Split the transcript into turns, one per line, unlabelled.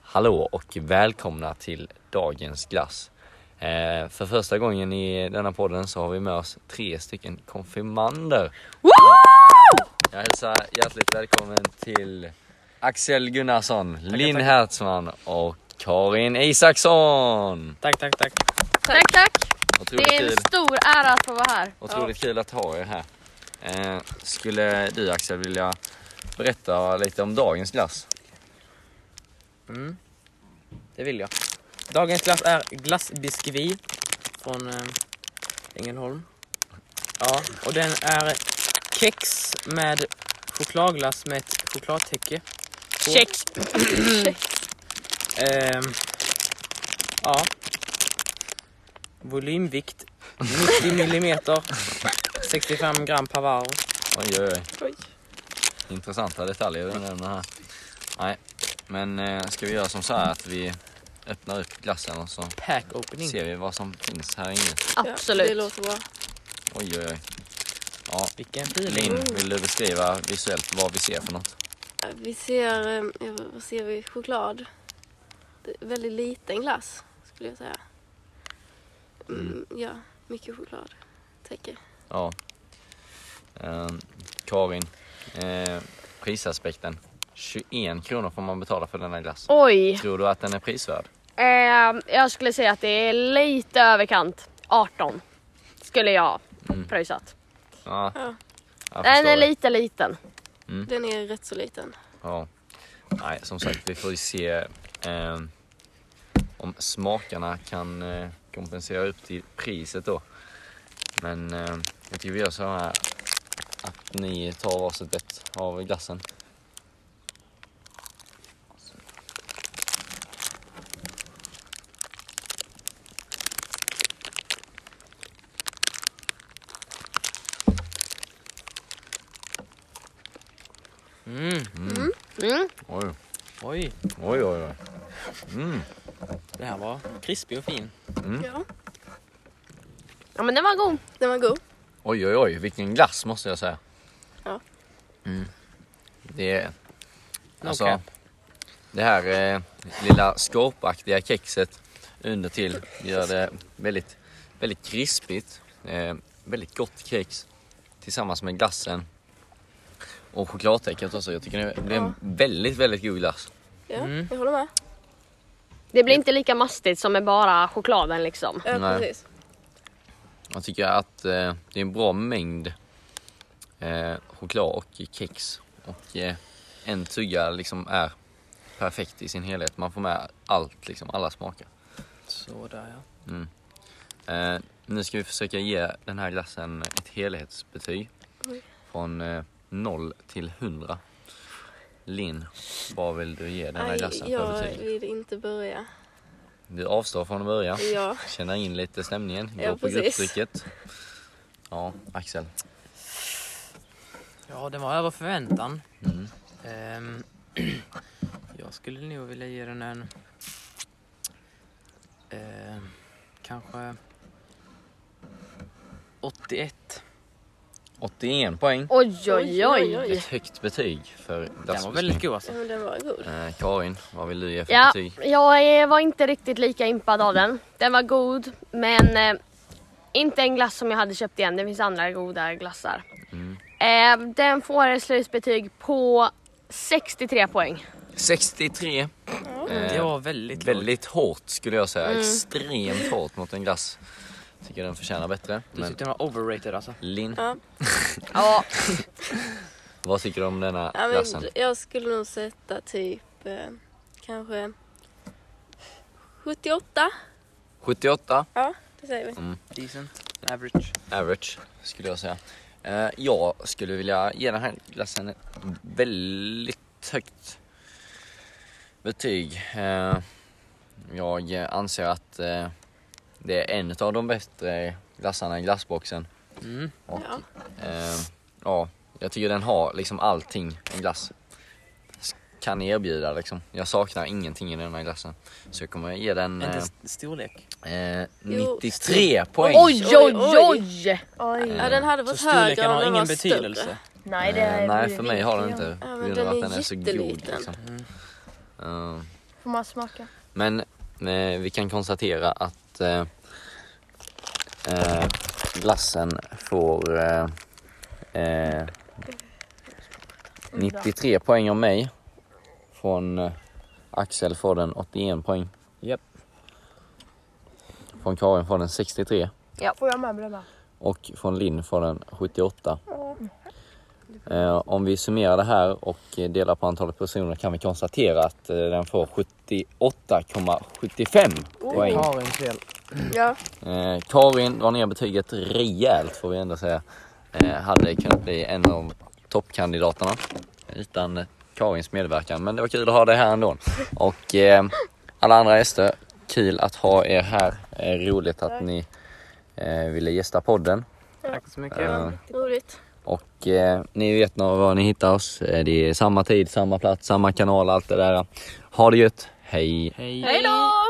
Hallå och välkomna till dagens glass. Eh, för första gången i denna podden så har vi med oss tre stycken konfirmander.
Woo!
Jag hälsar hjärtligt välkommen till Axel Gunnarsson, Linn
tack.
Hertzman och Karin Isaksson.
Tack, tack, tack.
Tack tack!
Otroligt
Det är
kul,
en stor ära att få vara här.
otroligt kul att ha er här. Eh, skulle du Axel vilja berätta lite om dagens glass?
Mm. Det vill jag. Dagens glass är glassbiskvi från eh, Ängelholm. Ja, och den är kex med chokladglass med ett chokladtäcke.
Check!
Ehm, ja. Volymvikt 90 millimeter 65 gram Pavaro.
Oj, oj, oj. Intressanta detaljer vi nämner här. Nej, men eh, ska vi göra som så här att vi öppnar upp glassen och så
Pack opening.
ser vi vad som finns här inne.
Absolut.
Det låter bra.
Oj, oj, oj. Ja,
Vilken feeling.
Linn, vill du beskriva visuellt vad vi ser för något?
Vi ser, eh, ja, vad ser vi? Choklad. Det är väldigt liten glass skulle jag säga. Mm, ja, mycket choklad. Täcker.
Ja. Eh, Karin, eh, prisaspekten. 21 kronor får man betala för denna glass.
Oj!
Tror du att den är prisvärd?
Eh, jag skulle säga att det är lite överkant. 18 skulle jag
Mm.
pröjsat.
Ja.
Ja.
jag
Den
förstår
är
det.
lite liten.
Den är rätt så liten.
Ja. Nej, som sagt, vi får ju se eh, om smakarna kan eh, kompensera upp till priset då. Men eh, jag tycker vi gör så här att ni tar varsitt ett av glassen.
Mm.
Mm.
Oj,
Oj,
oj, oj. oj.
det här var krispig och fin.
Mm.
Ja,
Ja men den var god.
den var god.
Oj, oj, oj, vilken glass måste jag säga.
Ja.
Mm. Det är...
No
alltså,
cap.
det här eh, lilla skorpaktiga kexet under till gör det väldigt, väldigt krispigt. Eh, väldigt gott kex tillsammans med glassen och chokladtäcket också. Jag tycker det blir en väldigt, väldigt god glass.
Ja,
Mm.
jag håller med.
Det blir inte lika mastigt som med bara chokladen liksom.
Ja,
Nej.
precis.
Jag tycker att eh, det är en bra mängd eh, choklad och kex. Och eh, en tugga liksom är perfekt i sin helhet. Man får med allt, liksom, alla smaker.
Sådär ja.
Eh, nu ska vi försöka ge den här glassen ett helhetsbetyg. Från eh, 0 till 100. Linn, vad vill du ge den här
Nej,
glassen för
jag
betyg?
vill inte börja.
Du avstår från att börja.
Ja,
Känna in lite stämningen. Gå
Ja,
på
precis.
grupptrycket. Ja, Axel.
Ja, den var över förväntan. Ehm, jag skulle nog vilja ge den en... ehm, kanske... 81.
81 poäng.
Oj oj
oj,
oj.
Ett högt betyg för
Den var
glassbespisning.
väldigt god
ja,
alltså.
men den var god.
Eh, Karin, vad vill du ge för
Ja,
betyg?
jag eh, var inte riktigt lika impad av den. Den var god, men eh, inte en glass som jag hade köpt igen. Det finns andra goda glassar.
Mm.
Eh, den får ett slutbetyg på 63 poäng.
63.
Det
Eh,
var väldigt, Mm. väldigt.
väldigt hårt skulle jag säga. Extremt hårt mot en glass. Tycker den förtjänar bättre.
Du
Men
tyckte den var overrated alltså.
Linn,
Ja,
Ja,
vad tycker du om denna
ja,
glassen?
men jag skulle nog sätta typ eh, kanske 78.
78
Ja, det säger vi.
Decent. Average.
average skulle jag säga. Eh, jag skulle vilja ge den här glassen ett väldigt högt betyg. Eh, jag anser att eh, det är en av de bättre glassarna i glassboxen.
Mm.
Och,
Ja.
eh, ja, jag tycker den har liksom allting en glass s- kan erbjuda liksom. Jag saknar ingenting i den här glassen. Så jag kommer ge den
Inte
eh,
st- storlek.
eh,
Jo.
93 poäng.
oj oj
Oj,
oj!
Ja, den hade
Så
varit högre
storleken
om
har
den var
ingen
större.
betydelse.
Nej,
Eh, Nej, för mig har den inte.
Ja, men
på grund
den
av att
är
den är så god
jätteliten.
liksom. Eh,
Får man smaka?
Men eh, vi kan konstatera att eh, eh, glassen får eh, eh, 93 poäng av mig. Från eh, Axel får den 81 poäng.
Japp.
Från Karin får den 63
Får jag med mig den här?
och från Linn får den 78. Eh, om vi summerar det här och eh, delar på antalet personer kan vi konstatera att eh, den får 78,75 poäng.
Karins fel.
Ja.
Eh, Karin drar ner betyget rejält får vi ändå säga. Eh, hade kunnat bli en av toppkandidaterna utan eh, Karins medverkan. Men det var kul att ha dig här ändå. Och eh, alla andra gäster, kul att ha er här. Eh, roligt att ni eh, ville gästa podden.
Tack så mycket.
Eh,
Roligt.
och eh, ni vet nog var ni hittar oss. Eh, Det är samma tid, samma plats, samma kanal, allt det där. Ha det gött, hej!
Hej.
Hej då!